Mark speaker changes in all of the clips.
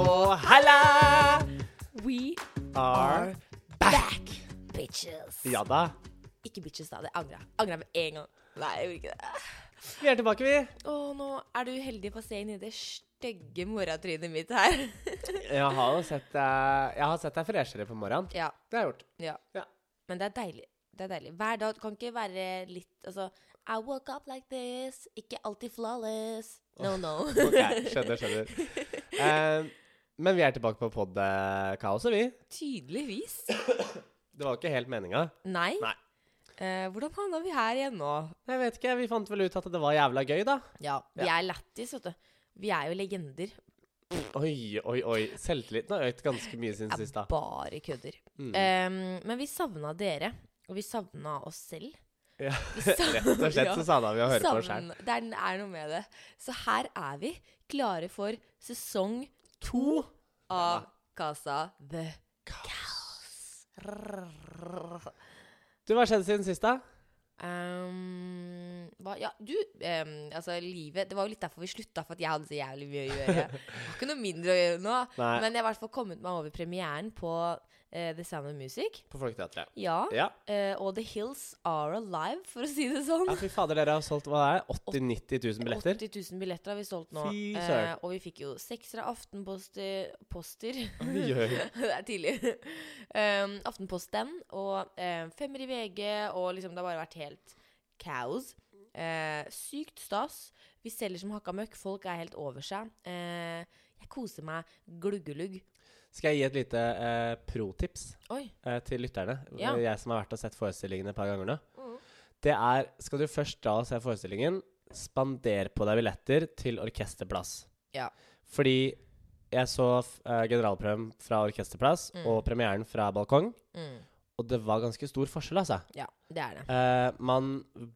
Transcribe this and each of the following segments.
Speaker 1: og halla!
Speaker 2: We
Speaker 1: Are
Speaker 2: back, bitches.
Speaker 1: Ja da.
Speaker 2: Ikke bitches, da. Det angra jeg. Angra med en gang. Nei, jeg gjorde ikke det.
Speaker 1: Vi er tilbake, vi.
Speaker 2: Å, nå er du heldig på å se inn i det stygge moratrynet mitt her.
Speaker 1: Jeg har jo sett deg Jeg har sett deg freshere på morgenen.
Speaker 2: ja,
Speaker 1: Det har jeg gjort.
Speaker 2: ja.
Speaker 1: Ja.
Speaker 2: Men det er deilig. Det er deilig. Hver dag kan ikke være litt Altså I woke up like this. Ikke alltid flawless. No, no.
Speaker 1: Ok, skjønner, skjønner. Eh, men vi er tilbake på podkaoset, vi.
Speaker 2: Tydeligvis.
Speaker 1: Det var ikke helt meninga.
Speaker 2: Nei.
Speaker 1: Nei.
Speaker 2: Eh, hvordan havna vi her igjen nå?
Speaker 1: Jeg vet ikke, vi fant vel ut at det var jævla gøy, da.
Speaker 2: Ja, vi er lættis, vet du. Vi er jo legender.
Speaker 1: Oi, oi, oi. Selvtilliten har økt ganske mye siden sist, da.
Speaker 2: er bare kødder.
Speaker 1: Mm.
Speaker 2: Ehm, men vi savna dere, og vi savna oss selv.
Speaker 1: Ja.
Speaker 2: Vi
Speaker 1: Rett og slett så savna vi å høre på oss sjøl.
Speaker 2: savn- Det er, er noe med det. Så her er vi, klare for sesong to av Casa The House.
Speaker 1: Du, hva skjedde siden sist, da?
Speaker 2: Ehm, hva, ja, du ehm, Altså, livet Det var jo litt derfor vi slutta, for at jeg hadde så jævlig mye å gjøre. Jeg har ikke noe mindre å gjøre nå.
Speaker 1: Nei,
Speaker 2: Men jeg har i hvert fall kommet meg over premieren på eh, The Sound of Music.
Speaker 1: på Folketeatret.
Speaker 2: Ja.
Speaker 1: Ja.
Speaker 2: Eh, og The Hills Are Alive, for å si det sånn.
Speaker 1: ja, fy fader, dere har solgt hva er det, 80 000-90 000 billetter?
Speaker 2: 80 000 billetter har vi solgt nå.
Speaker 1: Fy
Speaker 2: Eh,
Speaker 1: søren.
Speaker 2: og vi fikk jo seksere Aftenposter Poster.
Speaker 1: Oi, oi.
Speaker 2: det er tidlig. Um, Aftenposten og eh, femmer i VG, og liksom det har bare vært helt kaos. Eh, sykt stas. Vi selger som hakka møkk. Folk er helt over seg. Eh, jeg koser meg gluggelugg.
Speaker 1: Skal jeg gi et lite eh, pro-tips
Speaker 2: Oi.
Speaker 1: eh, til lytterne?
Speaker 2: Ja.
Speaker 1: Jeg som har vært og sett forestillingen et par ganger nå.
Speaker 2: Mm.
Speaker 1: Det er Skal du først dra og se forestillingen, spander på deg billetter til orkesterplass.
Speaker 2: Ja.
Speaker 1: Fordi jeg så f- eh, generalprøven fra orkesterplass
Speaker 2: Mm.
Speaker 1: og premieren fra balkong,
Speaker 2: Mm.
Speaker 1: og det var ganske stor forskjell, altså.
Speaker 2: Ja, det er det.
Speaker 1: Eh, man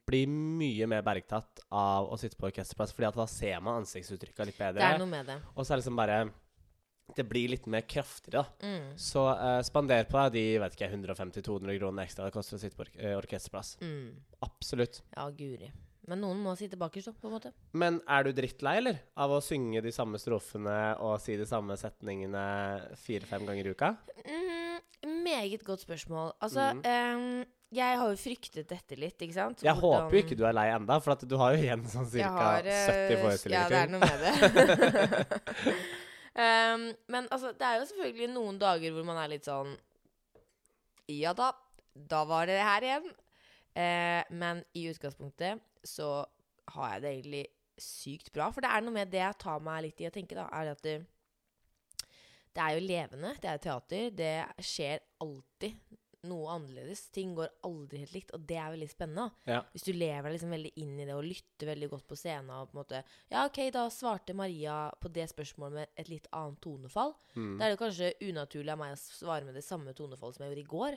Speaker 1: blir mye mer bergtatt av å sitte på orkesterplass, Fordi at da ser man ansiktsuttrykka litt
Speaker 2: Det er
Speaker 1: bedre.
Speaker 2: noe med det.
Speaker 1: Og så er det liksom bare Det blir litt mer kraftigere, da.
Speaker 2: Mm.
Speaker 1: Så eh, spander på deg de vet ikke, 150-200 kronene ekstra det koster å sitte på ork eh, orkesterplass.
Speaker 2: Mm.
Speaker 1: Absolutt.
Speaker 2: Ja, guri. Men noen må sitte bakerst, da, på en måte.
Speaker 1: Men er du drittlei, eller? Av å synge de samme strofene og si de samme setningene fire-fem ganger i uka?
Speaker 2: Mm, meget godt spørsmål. Altså,
Speaker 1: Mhm.
Speaker 2: ehm, jeg har jo fryktet dette litt, ikke sant?
Speaker 1: Jeg håper jo ikke du er lei enda, for at du har jo igjen sånn
Speaker 2: Jeg
Speaker 1: ca.
Speaker 2: har, eh,
Speaker 1: 70
Speaker 2: Ja, det er
Speaker 1: forestillinger til.
Speaker 2: noe med det. Ehm, men altså, det er jo selvfølgelig noen dager hvor man er litt sånn Ja da, da var det her igjen. Eh, men i utgangspunktet så har jeg det egentlig sykt bra. For det er noe med det jeg tar meg litt i å tenke, da, er at eh, det, det er jo levende. Det er teater. Det skjer alltid noe annerledes. Ting går aldri helt likt, og det er veldig spennende. da. Hvis du lever deg liksom veldig inn i det og lytter veldig godt på scenen og på en måte Ja, OK, da svarte Maria på det spørsmålet med et litt annet tonefall.
Speaker 1: Mm.
Speaker 2: Da er det kanskje unaturlig av meg å svare med det samme tonefallet som jeg gjorde i går.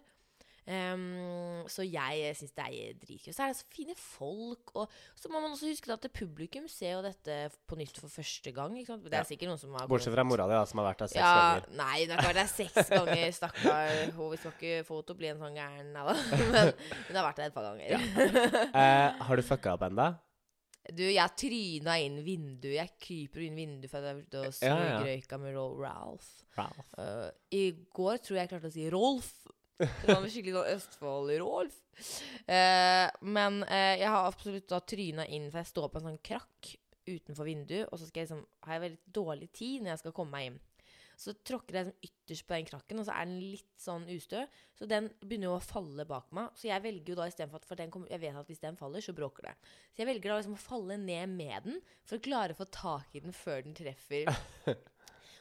Speaker 2: Ehm, så jeg syns det er dritgøy. Så er det så fine folk. Og så må man også huske at publikum ser jo dette på nytt for første gang. Ikke sant? Det
Speaker 1: Ja.
Speaker 2: er sikkert noen som har
Speaker 1: Bortsett fra mora di, da, som har vært der seks
Speaker 2: ja,
Speaker 1: ganger.
Speaker 2: Nei, det er klart det er seks ganger, stakkar. Hun- Vi skal ikke få henne til å bli en sånn gæren, nei da. Men hun har vært der et par ganger.
Speaker 1: Eh, har du fucka opp enda?
Speaker 2: Du, jeg tryna inn vinduet. Jeg kryper inn vinduet for at jeg har vært ute og
Speaker 1: Ja, ja.
Speaker 2: smugrøyka med Ro- Ralph. Eh, I går tror jeg jeg klarte å si Rolf. Det var skikkelig sånn Østfold-Rolf. men eh, jeg har absolutt da tryna inn, for jeg står på en sånn krakk utenfor vinduet, og så skal jeg liksom, har jeg veldig dårlig tid når jeg skal komme meg inn. Så tråkker jeg sånn ytterst på den krakken, og så er den litt sånn ustø. Så den begynner jo å falle bak meg. Så jeg velger jo da i stedet for at for den kommer, jeg vet at hvis den faller, så bråker det. Så jeg velger da liksom å falle ned med den, for å klare å få tak i den før den treffer.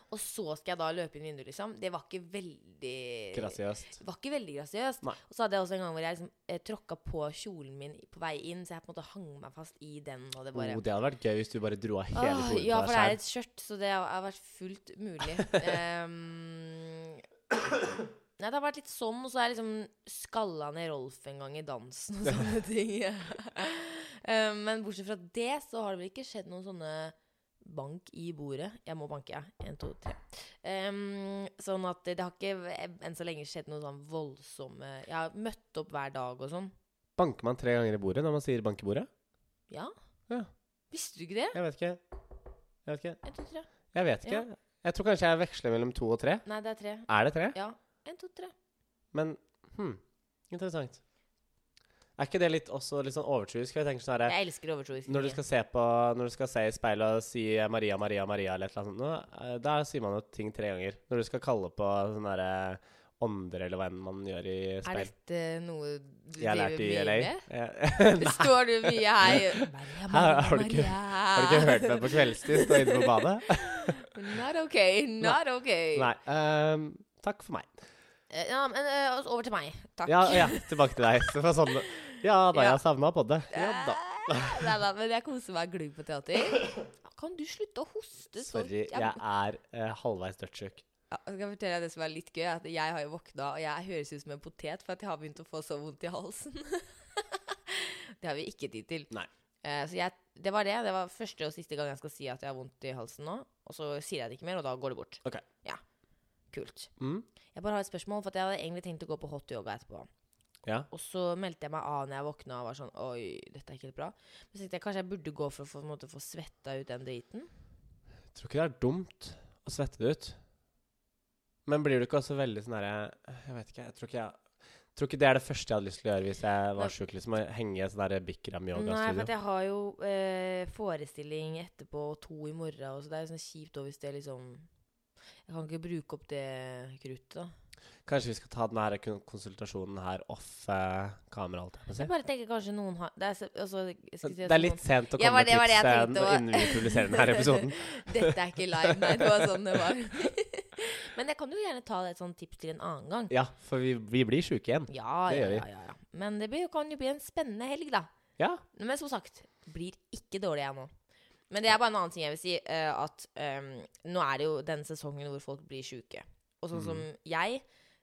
Speaker 2: og så skal jeg da løpe inn vinduet, liksom. Det var ikke veldig
Speaker 1: Grasiøst.
Speaker 2: det var ikke veldig grasiøst.
Speaker 1: Nei.
Speaker 2: Og så hadde jeg også en gang hvor jeg liksom, eh, tråkka på kjolen min på vei inn, så jeg på en måte hang meg fast i den. Og det
Speaker 1: Oh,
Speaker 2: bare
Speaker 1: det hadde vært gøy hvis du bare dro av hele
Speaker 2: Åh,
Speaker 1: hodet
Speaker 2: Ja,
Speaker 1: på
Speaker 2: for
Speaker 1: deg
Speaker 2: det
Speaker 1: selv.
Speaker 2: er et skjørt, så det har har vært fullt mulig. Ehm, nei, det har vært litt sånn, og så har jeg liksom skalla ned Rolf en gang i dansen og sånne ting. Ehm, men bortsett fra det, så har det vel ikke skjedd noen sånne Bank i bordet. Jeg må banke, jeg. En, to, tre. Ehm, sånn at det har ikke eh, enn så lenge skjedd noen sånn voldsomme Jeg har møtt opp hver dag og sånn.
Speaker 1: Banker man tre ganger i bordet når man sier 'bank i bordet'?
Speaker 2: Ja.
Speaker 1: Ja.
Speaker 2: Visste du ikke det?
Speaker 1: Jeg vet ikke. Jeg vet ikke.
Speaker 2: En, to, tre.
Speaker 1: Jeg vet ikke.
Speaker 2: Ja.
Speaker 1: Jeg Jeg tror kanskje jeg veksler mellom to og tre.
Speaker 2: Nei, det er tre.
Speaker 1: Er det tre?
Speaker 2: Ja. En, to, tre.
Speaker 1: Men hm, interessant. Er ikke det litt også litt sånn overtroisk? For Jeg tenker sånn herre
Speaker 2: Jeg elsker overtroisk.
Speaker 1: når du skal se på Når du skal se i speilet og si eh, Maria, Maria, Maria eller et eller annet sånt, nå, eh, da sier man jo ting tre ganger. Når du skal kalle på sånne derre ånder eller hva enn man gjør i
Speaker 2: Er
Speaker 1: speil.
Speaker 2: dette noe du
Speaker 1: Jeg har lært i LA.
Speaker 2: med?
Speaker 1: Eh, Nei.
Speaker 2: Står du mye her Maria, Maria,
Speaker 1: har du ikke-
Speaker 2: Maria.
Speaker 1: Har du ikke hørt meg på kveldstid stå inne på badet?
Speaker 2: Not okay, not okay.
Speaker 1: Nei. ehm, takk for meg.
Speaker 2: Eh, Ja, men eh, over til meg. Takk.
Speaker 1: Ja, ja, tilbake til deg. Så det var sånn, ja da,
Speaker 2: Ja.
Speaker 1: jeg savna podde. Ja da.
Speaker 2: Eh, Nei da, men jeg koser meg glugg på teater. Kan du slutte å hoste sånn?
Speaker 1: Sorry,
Speaker 2: Jeg-
Speaker 1: jeg er eh, halvveis dødssjuk.
Speaker 2: Ja, skal jeg fortelle deg det som er litt gøy? er At jeg har jo våkna, og jeg høres ut som en potet for at jeg har begynt å få så vondt i halsen. det har vi ikke tid til.
Speaker 1: Nei.
Speaker 2: Eh, så jeg, det var det. Det var første og siste gang jeg skal si at jeg har vondt i halsen nå. Og så sier jeg det ikke mer, og da går det bort.
Speaker 1: Ok.
Speaker 2: Ja. Kult.
Speaker 1: Mm?
Speaker 2: Jeg bare har et spørsmål, for at jeg hadde egentlig tenkt å gå på hot yoga etterpå.
Speaker 1: Ja.
Speaker 2: Og så meldte jeg meg av når jeg våkna og var sånn Oi, dette er ikke helt bra. Men så tenkte jeg kanskje jeg burde gå for å få, på en måte, få svetta ut den driten.
Speaker 1: Tror ikke det er dumt å svette det ut. Men blir du ikke også veldig sånn herre Jeg vet ikke, jeg tror ikke jeg Tror ikke det er det første jeg hadde lyst til å gjøre hvis jeg
Speaker 2: Nei.
Speaker 1: var sjuk. Liksom, å henge i et sånn derre
Speaker 2: Nei, for at
Speaker 1: Bikram-yogastudio.
Speaker 2: jeg har jo eh, forestilling etterpå og to i morgen, og så det er jo sånn kjipt også hvis det liksom Jeg kan ikke bruke opp det kruttet, da.
Speaker 1: Kanskje vi skal ta den her kon- konsultasjonen her off eh, kamera, holdt jeg på å si.
Speaker 2: Jeg bare tenker kanskje noen har Det er, så- altså, jeg skulle si
Speaker 1: Det
Speaker 2: at
Speaker 1: er
Speaker 2: noen-
Speaker 1: litt sent å komme
Speaker 2: Ja, var
Speaker 1: med
Speaker 2: det- var
Speaker 1: tips
Speaker 2: det jeg
Speaker 1: eh,
Speaker 2: tenkte
Speaker 1: nå
Speaker 2: også.
Speaker 1: innen vi publiserer denne her episoden.
Speaker 2: Dette er ikke live, nei. Det var sånn det var. Men jeg kan jo gjerne ta et sånt tips til en annen gang.
Speaker 1: Ja, for vi, vi blir sjuke igjen.
Speaker 2: Ja,
Speaker 1: Det
Speaker 2: ja,
Speaker 1: gjør vi.
Speaker 2: ja, ja, ja. Men det blir, kan jo bli en spennende helg, da.
Speaker 1: Ja.
Speaker 2: Men som sagt, blir ikke dårlig jeg nå. Men det er bare en annen ting jeg vil si. eh, at ehm, nå er det jo den sesongen hvor folk blir sjuke. Og sånn som jeg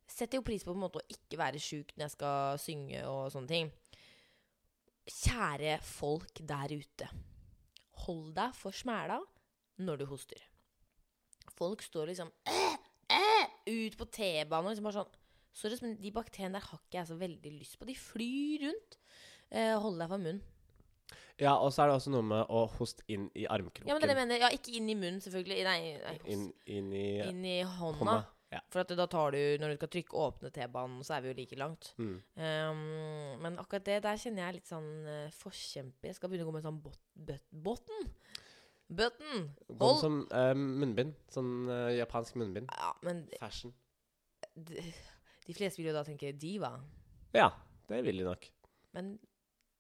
Speaker 2: setter jo pris på på en måte å ikke være sjuk når jeg skal synge og sånne ting. Kjære folk der ute. Hold deg for smæla når du hoster. Folk står liksom «Æ, æ», ut på T-banen og liksom bare sånn Sorry, men de bakteriene der har ikke jeg så veldig lyst på. De flyr rundt. Eh, hold deg for munnen.
Speaker 1: Ja, og så er det også noe med å hoste inn i armkroken.
Speaker 2: Ja, men det er det jeg mener. Ja, ikke inn i munnen, selvfølgelig. Nei, nei
Speaker 1: inn, inn i
Speaker 2: inn i hånda.
Speaker 1: hånda. Ja.
Speaker 2: For at da tar du, når du skal trykke og åpne T-banen, så er vi jo like langt.
Speaker 1: Mm.
Speaker 2: Ehm, men akkurat det, der kjenner jeg litt sånn eh, forkjemper. Jeg skal begynne å gå med sånn bot, bot, botten. Button!
Speaker 1: Hold.
Speaker 2: Hold!
Speaker 1: Som eh, munnbind. Sånn eh, japansk munnbind.
Speaker 2: Ja, men
Speaker 1: Fashion.
Speaker 2: de, de fleste vil jo da tenke diva.
Speaker 1: Ja, det vil de nok.
Speaker 2: Men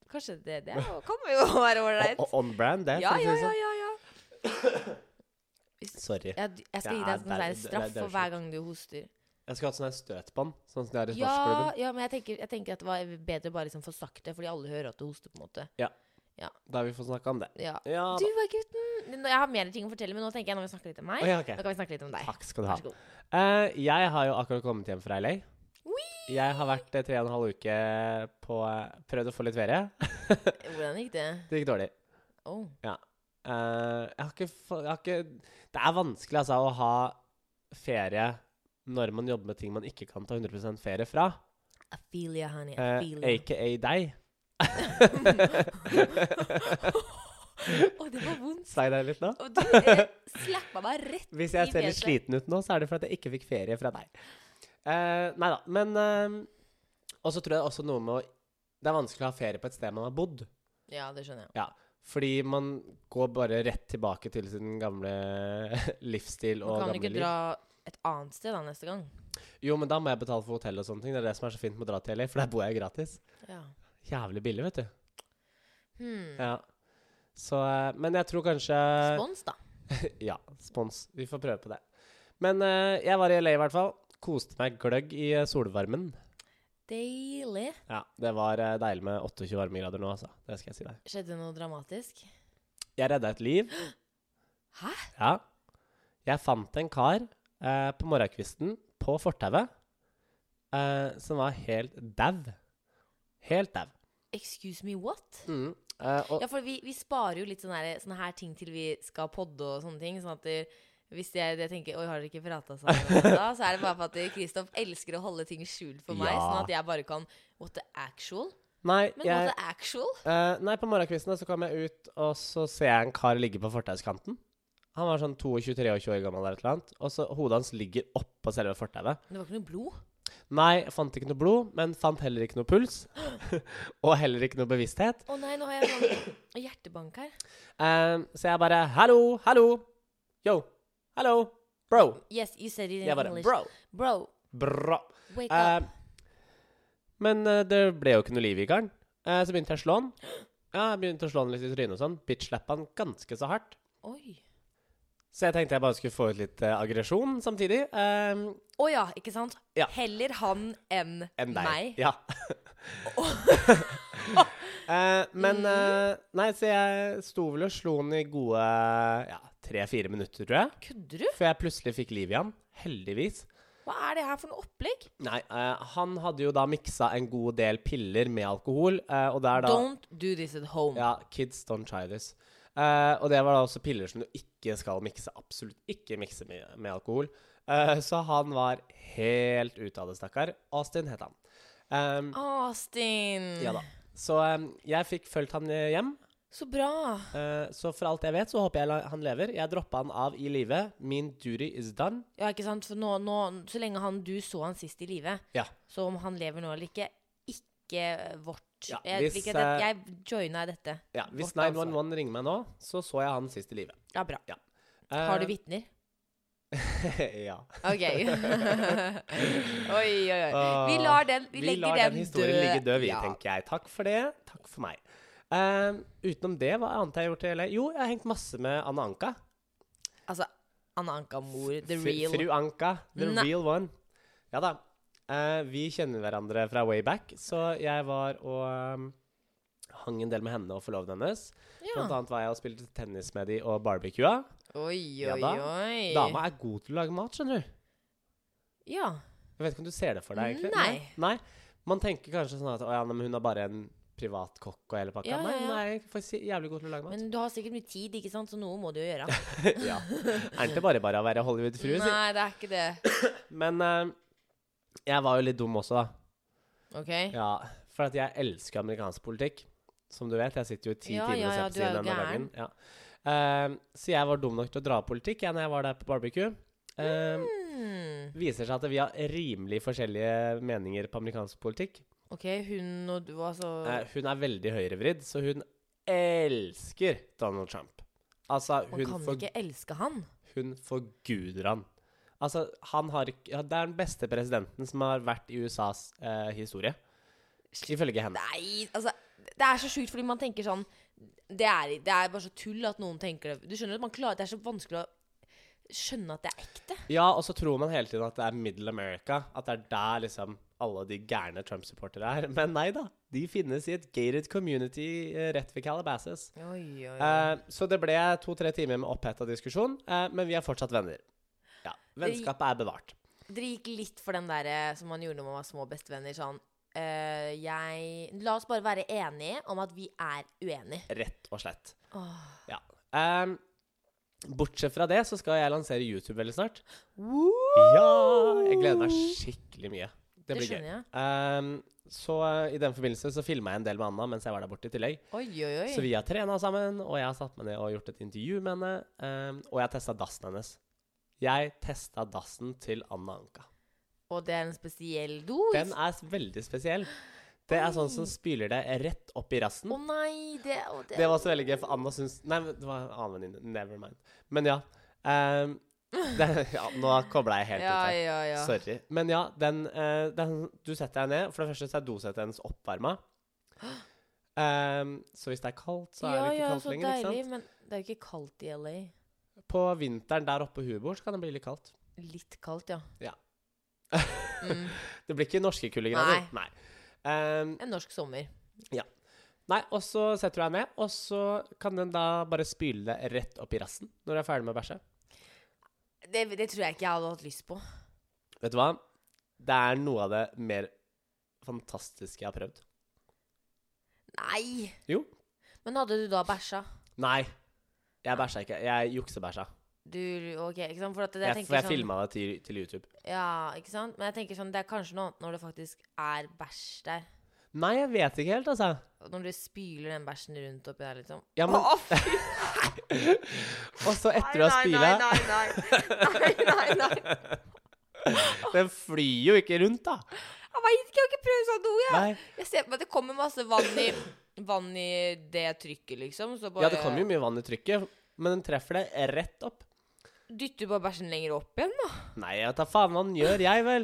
Speaker 2: kanskje det, det er jo- kan jo være
Speaker 1: Og,
Speaker 2: ålreit.
Speaker 1: og on brand, det.
Speaker 2: Ja,
Speaker 1: for å si
Speaker 2: ja,
Speaker 1: det
Speaker 2: ja,
Speaker 1: sånn.
Speaker 2: ja, ja.
Speaker 1: Sorry.
Speaker 2: Jeg, jeg skal
Speaker 1: Det
Speaker 2: gi
Speaker 1: er
Speaker 2: deg en sånn
Speaker 1: bare-
Speaker 2: der
Speaker 1: det- det er-
Speaker 2: straff
Speaker 1: det er
Speaker 2: for hver gang du hoster.
Speaker 1: Jeg skulle hatt sånn her støtbånd, sånn som de har i
Speaker 2: Ja,
Speaker 1: sportsklubben.
Speaker 2: ja, men jeg tenker, jeg tenker at det var bedre å bare liksom få sagt det, fordi alle hører at du hoster. på en måte
Speaker 1: Da har vi fått snakka om det.
Speaker 2: ja.
Speaker 1: Ja
Speaker 2: Du
Speaker 1: da.
Speaker 2: var gutten! Nå- Jeg har mer ting å fortelle, men nå tenker jeg nå må vi snakke litt om meg.
Speaker 1: Å, ja, ok.
Speaker 2: Nå kan vi snakke litt om deg.
Speaker 1: Takk skal du ha.
Speaker 2: Vær så god.
Speaker 1: Eh, jeg har jo akkurat kommet hjem fra LA.
Speaker 2: Whee!
Speaker 1: Jeg har vært eh, tre og en halv uke på eh, Prøvd å få litt ferie.
Speaker 2: Hvordan gikk det?
Speaker 1: Det gikk dårlig.
Speaker 2: Oh.
Speaker 1: Eh, jeg har ikke, få- jeg har ikke Det er vanskelig altså, å ha ferie når man jobber med ting man ikke kan ta 100 ferie fra.
Speaker 2: Afilia, honey.
Speaker 1: Eh,
Speaker 2: Afilia.
Speaker 1: AKA deg.
Speaker 2: Å, det var vondt.
Speaker 1: Svei deg litt nå.
Speaker 2: Og du eh, slappa meg rett
Speaker 1: Hvis jeg
Speaker 2: I
Speaker 1: ser litt
Speaker 2: fjeset.
Speaker 1: sliten ut nå, så er det fordi jeg ikke fikk ferie fra deg. Eh, nei da. Men eh, Og så tror jeg også noe med å Det er vanskelig å ha ferie på et sted man har bodd.
Speaker 2: Ja, det skjønner jeg.
Speaker 1: Fordi man går bare rett tilbake til sin gamle livsstil
Speaker 2: Man
Speaker 1: og
Speaker 2: kan
Speaker 1: gamle
Speaker 2: ikke
Speaker 1: liv.
Speaker 2: dra et annet sted da neste gang.
Speaker 1: Jo, men da må jeg betale for hotell og sånne ting. Det er det som er så fint med å dra til LA, for der bor jeg gratis.
Speaker 2: Ja.
Speaker 1: Jævlig billig, vet du.
Speaker 2: Hmm.
Speaker 1: Ja. Så eh, Men jeg tror kanskje
Speaker 2: Spons, da.
Speaker 1: Ja, spons. Vi får prøve på det. Men eh, jeg var i LA i hvert fall. Koste meg gløgg i eh, solvarmen.
Speaker 2: Deilig.
Speaker 1: Ja, det var eh, deilig med 28 varmegrader nå, altså. Det skal jeg si deg.
Speaker 2: Skjedde noe dramatisk?
Speaker 1: Jeg redda et liv.
Speaker 2: Hæ?
Speaker 1: Ja. Jeg fant en kar eh, på morgenkvisten på fortauet eh, som var helt dau. Helt dau.
Speaker 2: Excuse me, what?
Speaker 1: Mm. Eh, og
Speaker 2: Ja, for vi, vi sparer jo litt sånne, her, sånne her ting til vi skal podde og sånne ting. Sånn at det, hvis jeg, jeg tenker Oi, har dere ikke prata sammen da? Så er det bare for at eh, Kristoff elsker å holde ting skjult for meg.
Speaker 1: Ja.
Speaker 2: Sånn at jeg bare kan What the actual?
Speaker 1: Nei,
Speaker 2: Men altså,
Speaker 1: jeg,
Speaker 2: what the actual?
Speaker 1: eh, nei, på morgenkvisten da, så kom jeg ut, og så ser jeg en kar ligge på fortauskanten. Han var sånn 22-23 år gammel, eller et eller annet, og så hodet hans ligger oppå selve fortauet.
Speaker 2: Det var ikke noe blod.
Speaker 1: Nei, jeg fant ikke noe blod, men fant heller ikke noe puls. og heller ikke noe bevissthet.
Speaker 2: Å nei, nå har jeg sånn hjertebank her.
Speaker 1: Eh, så jeg bare Hallo, hallo. Yo. Hallo. Bro.
Speaker 2: Yes, you said it in
Speaker 1: Jeg bare
Speaker 2: English.
Speaker 1: Bro.
Speaker 2: Bro,
Speaker 1: Bra.
Speaker 2: wake
Speaker 1: Eh,
Speaker 2: up.
Speaker 1: men eh, det ble jo ikke noe liv i karen. Eh, så begynte jeg å slå han. Ja, jeg begynte å slå han litt i trynet og sånn. Bitch-slappa han ganske så hardt.
Speaker 2: Oi.
Speaker 1: Så jeg tenkte jeg bare skulle få ut litt eh, aggresjon samtidig. Eh,
Speaker 2: Å ja, ikke sant?
Speaker 1: Ja.
Speaker 2: Heller han enn
Speaker 1: enn deg.
Speaker 2: meg.
Speaker 1: Ja. Eh, men eh, Nei, så jeg sto vel og slo han i gode ja, tre-fire minutter, tror jeg.
Speaker 2: Kødder du?
Speaker 1: Før jeg plutselig fikk liv i han. Heldigvis.
Speaker 2: Hva er det her for noe opplegg?
Speaker 1: Nei, eh, han hadde jo da miksa en god del piller med alkohol, eh, og det er da
Speaker 2: Don't do this at home.
Speaker 1: Ja, kids don't try this. Eh, og det var da også piller som du ikke skal mikse. Absolutt ikke mikse med, med alkohol. Eh, så han var helt ute av det, stakkar. Austin het han. Um,
Speaker 2: Austin.
Speaker 1: Ja da. Så em, jeg fikk fulgt han eh, hjem.
Speaker 2: Så bra.
Speaker 1: Eh, så for alt jeg vet, så håper jeg la- han lever. Jeg droppa han av i live. Min duty is done.
Speaker 2: Ja, ikke sant? For nå, nå, så lenge han, du så han sist i live,
Speaker 1: Ja.
Speaker 2: så om han lever nå eller ikke, ikke vårt.
Speaker 1: Ja,
Speaker 2: jeg,
Speaker 1: hvis,
Speaker 2: liker
Speaker 1: eh,
Speaker 2: at jeg joina dette.
Speaker 1: ja hvis
Speaker 2: Vårt ansvar.
Speaker 1: 911 ringer meg nå, så så jeg han sist i live.
Speaker 2: Ja, bra.
Speaker 1: Eh,
Speaker 2: Har du vitner?
Speaker 1: ja.
Speaker 2: OK. oi, oi, oi. Vi
Speaker 1: Åh,
Speaker 2: lar den Vi,
Speaker 1: Vi
Speaker 2: legger
Speaker 1: lar den historien ligge død, vi,
Speaker 2: Ja.
Speaker 1: tenker jeg. Takk for det. Takk for meg. Em, utenom det, hva annet har jeg gjort i LA? Jo, jeg har hengt masse med Anna Anka.
Speaker 2: Altså, Anna Anka-mor, Oh, the
Speaker 1: Fru-
Speaker 2: real.
Speaker 1: Fru Anka. The
Speaker 2: Nei.
Speaker 1: real one. Ja da. Eh, vi kjenner hverandre fra way back, så jeg var og ehm, hang en del med henne og forloveden hennes.
Speaker 2: Ja.
Speaker 1: Blant annet var jeg og spilte tennis med de og barbecua.
Speaker 2: Oi,
Speaker 1: Ja
Speaker 2: oi,
Speaker 1: da.
Speaker 2: oi.
Speaker 1: Dama er god til å lage mat, skjønner du.
Speaker 2: Ja.
Speaker 1: Jeg vet ikke om du ser det for deg, egentlig.
Speaker 2: Nei.
Speaker 1: Nei. Man tenker kanskje sånn at å, ja, nei, men hun er bare en privat kokk og hele pakka.
Speaker 2: Ja, ja,
Speaker 1: Nei,
Speaker 2: ja.
Speaker 1: hun er egentlig faktisk jævlig god til å lage mat.
Speaker 2: Men du har sikkert mye tid, ikke sant, så noe må du jo gjøre.
Speaker 1: ja. Er ikke bare bare å være Hollywood-frue, si.
Speaker 2: Nei, det er ikke det.
Speaker 1: Men ehm, jeg var jo litt dum også, da.
Speaker 2: OK?
Speaker 1: Ja, for at jeg elsker amerikansk politikk. Som du vet, jeg sitter jo i ti
Speaker 2: Ja,
Speaker 1: timer
Speaker 2: ja,
Speaker 1: og
Speaker 2: ja,
Speaker 1: ser på
Speaker 2: du er
Speaker 1: siden
Speaker 2: jo
Speaker 1: denne dagen.
Speaker 2: gæren.
Speaker 1: Ja. Ehm, så jeg var dum nok til å dra politikk jeg, når jeg var der på barbecue. Um,
Speaker 2: Hmm.
Speaker 1: Viser seg at vi har rimelig forskjellige meninger på amerikansk politikk.
Speaker 2: OK, hun og du, altså
Speaker 1: Eh, hun er veldig høyrevridd, så hun elsker Donald Trump. Altså,
Speaker 2: Man
Speaker 1: hun,
Speaker 2: kan
Speaker 1: for,
Speaker 2: ikke elske han.
Speaker 1: hun forguder han. Altså, han har ikke ja, Det er den beste presidenten som har vært i USAs eh, historie. Ifølge henne.
Speaker 2: Nei, altså Det er så sjukt, fordi man tenker sånn det er, det er bare så tull at noen tenker det. Du skjønner at man klarer Det er så vanskelig å skjønne at det er ekte.
Speaker 1: Ja, og så tror man hele tiden at det er Middle America. At det er der liksom alle de gærne Trump-supportere er. Men nei da. De finnes i et gated community eh, rett ved Calabasas.
Speaker 2: Oi, oi,
Speaker 1: Eh, så det ble to-tre timer med oppheta diskusjon, eh, men vi er fortsatt venner. Ja, Vennskapet er bevart.
Speaker 2: Dere gikk litt for den derre som man gjorde når man var små bestevenner. Sånn eh, jeg La oss bare være enige om at vi er uenige.
Speaker 1: Rett og slett.
Speaker 2: Åh.
Speaker 1: Ja. Eh, bortsett fra det så skal jeg lansere YouTube veldig snart. Ja! Jeg gleder meg skikkelig mye. Det
Speaker 2: Det
Speaker 1: blir gøy.
Speaker 2: skjønner jeg.
Speaker 1: Eh, så eh, i den forbindelse så filma jeg en del med Anna mens jeg var der borte i tillegg.
Speaker 2: Oi, oi, oi.
Speaker 1: Så vi har trena sammen, og jeg har satt meg ned og gjort et intervju med henne. ehm, og jeg har testa dassen hennes. Jeg testa dassen til Anna Anka.
Speaker 2: Og det er en spesiell do?
Speaker 1: Den er s- veldig spesiell. Det er sånn som spyler deg rett opp i
Speaker 2: Å
Speaker 1: rassen.
Speaker 2: nei, det, å, det,
Speaker 1: Det var så veldig gøy, for Anna syns Nei, men det var en annen venninne. Never mind. Men ja. ehm, det, ja nå kobla jeg helt
Speaker 2: ja,
Speaker 1: ut her.
Speaker 2: ja, ja.
Speaker 1: Sorry. Men ja, den, eh, den Du setter deg ned. For det første så er dosettet hennes oppvarma. Ehm, så hvis det er kaldt, så er det ikke
Speaker 2: ja,
Speaker 1: kaldt
Speaker 2: så
Speaker 1: lenger. ikke sant?
Speaker 2: deilig, Men det er jo ikke kaldt i LA.
Speaker 1: På vinteren der oppe på huet vårt så kan det bli litt kaldt.
Speaker 2: Litt kaldt, ja.
Speaker 1: Ja.
Speaker 2: mm,
Speaker 1: Det blir ikke norske kuldegrader. Nei. Ehm,
Speaker 2: en norsk sommer.
Speaker 1: nei, og så setter du deg ned, og så kan den da bare spyle deg rett opp i rassen når du er ferdig med å bæsje.
Speaker 2: Det, det tror jeg ikke jeg hadde hatt lyst på.
Speaker 1: Vet du hva? Det er noe av det mer fantastiske jeg har prøvd.
Speaker 2: Nei!
Speaker 1: Jo.
Speaker 2: Men hadde du da bæsja?
Speaker 1: Nei, jeg bæsja ikke. Jeg juksebæsja.
Speaker 2: Du, ok, ikke sant? For at det, jeg
Speaker 1: Jeg,
Speaker 2: tenker
Speaker 1: for jeg
Speaker 2: sånn,
Speaker 1: filma det til, til YouTube.
Speaker 2: Ja, ikke sant? Men jeg tenker sånn, det er kanskje noe annet når det faktisk er bæsj der.
Speaker 1: Nei, jeg vet ikke helt, altså.
Speaker 2: Når du spyler den bæsjen rundt oppi der, liksom.
Speaker 1: Ja, men,
Speaker 2: Å, fy
Speaker 1: og så etter du har spyla
Speaker 2: Nei, nei, nei. nei, nei, nei.
Speaker 1: Den flyr jo ikke rundt, da.
Speaker 2: Jeg vet ikke, jeg har ikke prøvd sånn noe, jeg.
Speaker 1: Nei.
Speaker 2: Jeg ser på meg at det kommer masse vann i, vann i det trykket, liksom. Så bare
Speaker 1: Ja, det kommer jo mye vann i trykket, men den treffer deg rett opp.
Speaker 2: dytter bare bæsjen lenger opp igjen, da.
Speaker 1: Nei, jeg tar faen hva den gjør, jeg vel.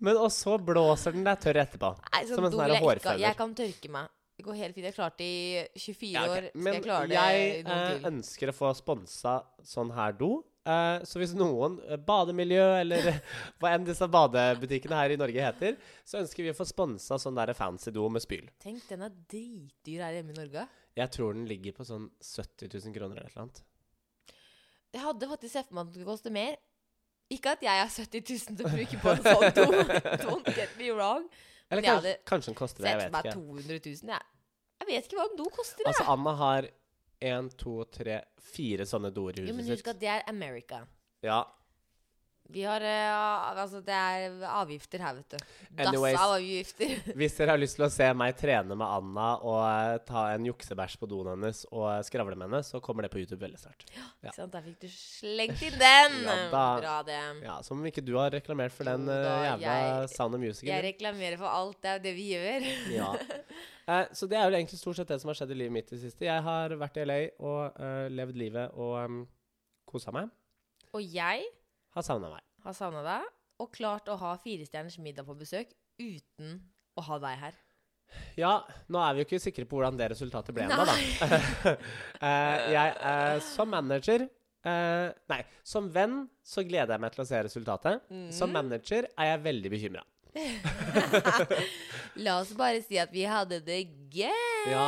Speaker 1: Men og så blåser den deg tørr etterpå.
Speaker 2: Nei, sånn
Speaker 1: Som en
Speaker 2: dum
Speaker 1: sånn her
Speaker 2: vil jeg ikke ha.
Speaker 1: hårføner.
Speaker 2: Jeg kan tørke meg. Det går helt fint. Jeg har klart det i 24
Speaker 1: Ja, ok.
Speaker 2: år. Skal
Speaker 1: Men
Speaker 2: jeg klare det
Speaker 1: jeg
Speaker 2: noen
Speaker 1: eh,
Speaker 2: til?
Speaker 1: ønsker å få sponsa sånn her do. Eh, så hvis noen eh, bademiljø, eller hva enn disse badebutikkene her i Norge heter, så ønsker vi å få sponsa sånn der fancy do med spyl.
Speaker 2: Tenk, den er dritdyr her hjemme i Norge.
Speaker 1: Jeg tror den ligger på sånn 70 000 kroner eller et eller annet.
Speaker 2: Jeg hadde faktisk sett for meg at det skulle koste mer. Ikke at jeg har 70 000 til å bruke på en sånn do. Don't get me wrong.
Speaker 1: Eller
Speaker 2: Men jeg
Speaker 1: kanskje,
Speaker 2: hadde
Speaker 1: kanskje den koster det,
Speaker 2: Sett
Speaker 1: jeg
Speaker 2: for
Speaker 1: vet
Speaker 2: meg
Speaker 1: ikke.
Speaker 2: 200 000. Jeg, jeg vet ikke hva en do koster. jeg.
Speaker 1: Altså, Anna har én, to, tre, fire sånne doer i
Speaker 2: jo, men
Speaker 1: huset
Speaker 2: husk
Speaker 1: sitt.
Speaker 2: at det er America.
Speaker 1: Ja,
Speaker 2: Vi har eh, Altså, det er avgifter her, vet du.
Speaker 1: Anyways.
Speaker 2: Dassavgifter.
Speaker 1: Hvis dere har lyst til å se meg trene med Anna og eh, ta en juksebæsj på doen hennes og eh, skravle med henne, så kommer det på YouTube veldig snart. Ja.
Speaker 2: Ikke sant, Der fikk du slengt inn den!
Speaker 1: Ja, da-
Speaker 2: Bra, det.
Speaker 1: Ja, Som om ikke du har reklamert for den
Speaker 2: Jo
Speaker 1: eh,
Speaker 2: da,
Speaker 1: jævla
Speaker 2: jeg-
Speaker 1: Sound of Music.
Speaker 2: Jeg reklamerer for alt. Det er jo det vi gjør.
Speaker 1: ja. Eh, så det er jo egentlig stort sett det som har skjedd i livet mitt i det siste. Jeg har vært i LA og eh, levd livet og um, kosa meg.
Speaker 2: Og jeg
Speaker 1: Har savna meg.
Speaker 2: har savna deg, og klart å ha Firestjerners middag på besøk uten å ha deg her.
Speaker 1: Ja, nå er vi jo ikke sikre på hvordan det resultatet ble ennå, da. Eh, jeg eh, som manager eh, Nei, som venn så gleder jeg meg til å se resultatet.
Speaker 2: Mhm.
Speaker 1: Som manager er jeg veldig bekymra.
Speaker 2: La oss bare si at vi hadde det gøy.
Speaker 1: Ja,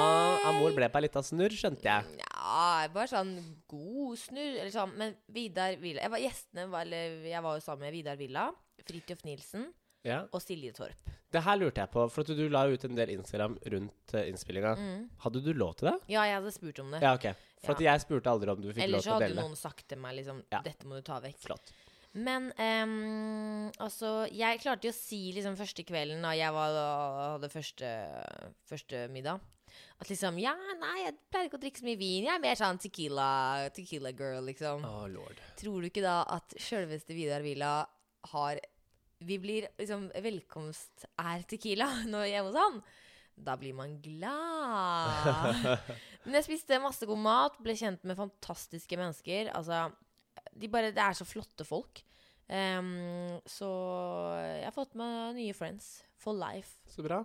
Speaker 1: Amor ble på ei lita snurr, skjønte jeg.
Speaker 2: Ja, bare sånn god snurr. Eller sånn. Men Vidar Villa jeg var, Gjestene var eller, Jeg var jo sammen med Vidar Villa, Fridtjof Nilsen
Speaker 1: Ja.
Speaker 2: og Silje Torp.
Speaker 1: Det her lurte jeg på, for at du la jo ut en del Instagram rundt uh, innspillinga. Hadde du lov til det?
Speaker 2: Mm. Ja, jeg hadde spurt om det.
Speaker 1: Ja, ok. For at jeg spurte aldri om du fikk lov
Speaker 2: Ellers så
Speaker 1: til å
Speaker 2: hadde
Speaker 1: dele.
Speaker 2: noen sagt til meg liksom
Speaker 1: Ja.
Speaker 2: Dette må du ta vekk.
Speaker 1: Flott.
Speaker 2: Men ehm, altså Jeg klarte jo å si liksom første kvelden da jeg var, hadde første, første middag At liksom Ja, nei, jeg pleier ikke å drikke så mye vin. Jeg er mer sånn tequila, tequila girl, liksom.
Speaker 1: Å, lord.
Speaker 2: Tror du ikke da at sjølveste Vidar Villa har Vi blir liksom Velkomst er tequila når jeg er hjemme hos han. Da blir man glad. Men jeg spiste masse god mat, ble kjent med fantastiske mennesker. Altså, de bare, det er så flotte folk. Ehm, så jeg har fått meg nye friends for life.
Speaker 1: Så bra.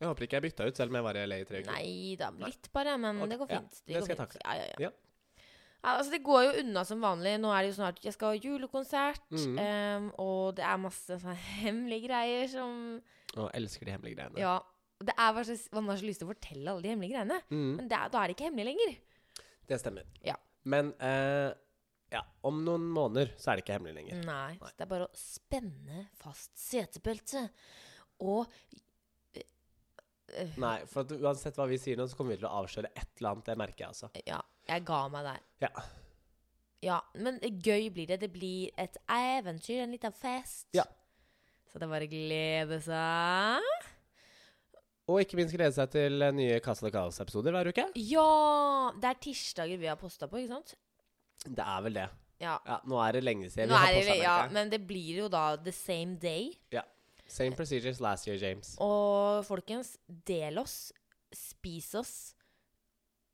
Speaker 1: Jeg håper ikke jeg bytta ut, selv om jeg var i LA i tre uker.
Speaker 2: Mm. Nei da, litt bare, men
Speaker 1: Ok,
Speaker 2: det går
Speaker 1: ja,
Speaker 2: fint.
Speaker 1: det
Speaker 2: går
Speaker 1: skal jeg
Speaker 2: fint.
Speaker 1: takke.
Speaker 2: Ja, ja, ja.
Speaker 1: Ja.
Speaker 2: Ja, Altså, det går jo unna som vanlig. Nå er det jo snart Jeg skal ha julekonsert,
Speaker 1: Mhm.
Speaker 2: em, og det er masse sånne hemmelige greier som
Speaker 1: Å, elsker de hemmelige greiene.
Speaker 2: Ja. Det er bare så, Man har så lyst til å fortelle alle de hemmelige greiene,
Speaker 1: Mm.
Speaker 2: men det er, da er det ikke hemmelig lenger.
Speaker 1: Det stemmer.
Speaker 2: Ja.
Speaker 1: Men eh, ja, om noen måneder så er det ikke hemmelig lenger.
Speaker 2: Nei. Så det er bare å spenne fast setebeltet og Mm.
Speaker 1: Nei, for at uansett hva vi sier nå, så kommer vi til å avsløre et eller annet. Det merker jeg, altså.
Speaker 2: eh, Ja, jeg ga meg der.
Speaker 1: Ja.
Speaker 2: Ja, men gøy blir det. Det blir et eventyr, en liten fest.
Speaker 1: Ja.
Speaker 2: Så det er bare å glede seg.
Speaker 1: Og ikke minst glede seg til eh, nye Casa de Caos-episoder hver uke.
Speaker 2: Ja! Det er tirsdager vi har posta på, ikke sant?
Speaker 1: Det er vel det.
Speaker 2: Ja.
Speaker 1: Ja, nå er sånn det lenge siden
Speaker 2: Nå
Speaker 1: vi har
Speaker 2: er det,
Speaker 1: postet
Speaker 2: ja,
Speaker 1: merker jeg.
Speaker 2: men det blir jo da the same day.
Speaker 1: Same procedures last year, James.
Speaker 2: Og folkens, del oss, spis oss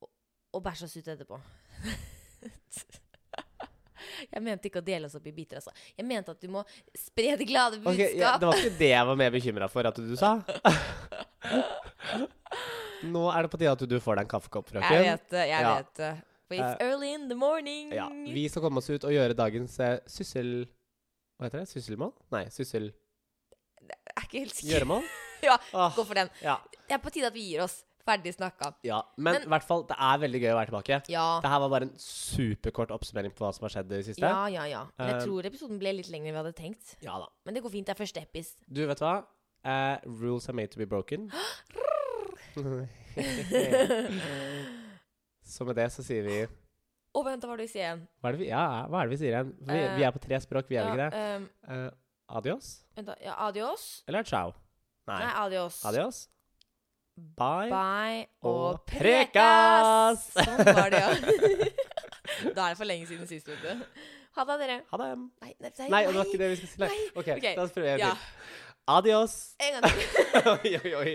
Speaker 2: og- og bæsj oss ut etterpå. Jeg mente ikke å dele oss opp i biter, altså. Jeg mente at du må spre det glade budskap.
Speaker 1: Ok, ja, det var ikke det jeg var mer bekymra for at du sa. nå er det på tide at du får deg en kaffekopp,
Speaker 2: Jeg
Speaker 1: frøken.
Speaker 2: vet det, jeg
Speaker 1: Ja.
Speaker 2: vet det. For it's
Speaker 1: Eh,
Speaker 2: early in the morning.
Speaker 1: Ja, vi skal komme oss ut og gjøre dagens eh, syssel... Hva heter det? Sysselmål? Nei, syssel...
Speaker 2: Jeg er ikke helt sikker.
Speaker 1: Gjøremål?
Speaker 2: Ja,
Speaker 1: Åh,
Speaker 2: Gå for den.
Speaker 1: ja.
Speaker 2: Det er på tide at vi gir oss. Ferdig snakka.
Speaker 1: Ja, men
Speaker 2: Men-
Speaker 1: i hvert fall, det er veldig gøy å være tilbake.
Speaker 2: Ja.
Speaker 1: Det her var bare en superkort oppsummering på hva som har skjedd i det siste.
Speaker 2: Ja, ja, ja. Men jeg
Speaker 1: Eh,
Speaker 2: tror episoden ble litt lengre enn vi hadde tenkt.
Speaker 1: Ja da.
Speaker 2: Men det går fint. Det er første epis.
Speaker 1: Du, vet du hva? Eh, rules are made to be broken. så med det så sier vi
Speaker 2: Å, vent, da var det vi sier igjen.
Speaker 1: Hva er det vi, ja, hva er det vi sier igjen? Vi,
Speaker 2: Eh,
Speaker 1: vi er på tre språk, vi er
Speaker 2: Ja,
Speaker 1: vel ikke det?
Speaker 2: ehm,
Speaker 1: Eh, adios?
Speaker 2: vent, da. Ja, adios.
Speaker 1: Eller ciao? Nei.
Speaker 2: Nei, adios.
Speaker 1: Adios? Bye.
Speaker 2: Bye
Speaker 1: og
Speaker 2: og
Speaker 1: prekas!
Speaker 2: prekas! Sånn var det, ja. da er det for lenge siden sist, vet du. Ha det, dere.
Speaker 1: Ha det.
Speaker 2: Nei,
Speaker 1: Nei, det var ikke det vi skulle si. Nei.
Speaker 2: Nei.
Speaker 1: OK,
Speaker 2: Ok,
Speaker 1: da prøver jeg en
Speaker 2: Ja.
Speaker 1: til. Adios.
Speaker 2: En gang til.
Speaker 1: oi, oi, oi.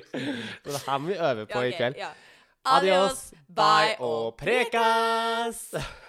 Speaker 1: Det her må vi øve på
Speaker 2: Ja,
Speaker 1: i
Speaker 2: ok,
Speaker 1: kveld.
Speaker 2: ja.
Speaker 1: Adios, bye og prekas!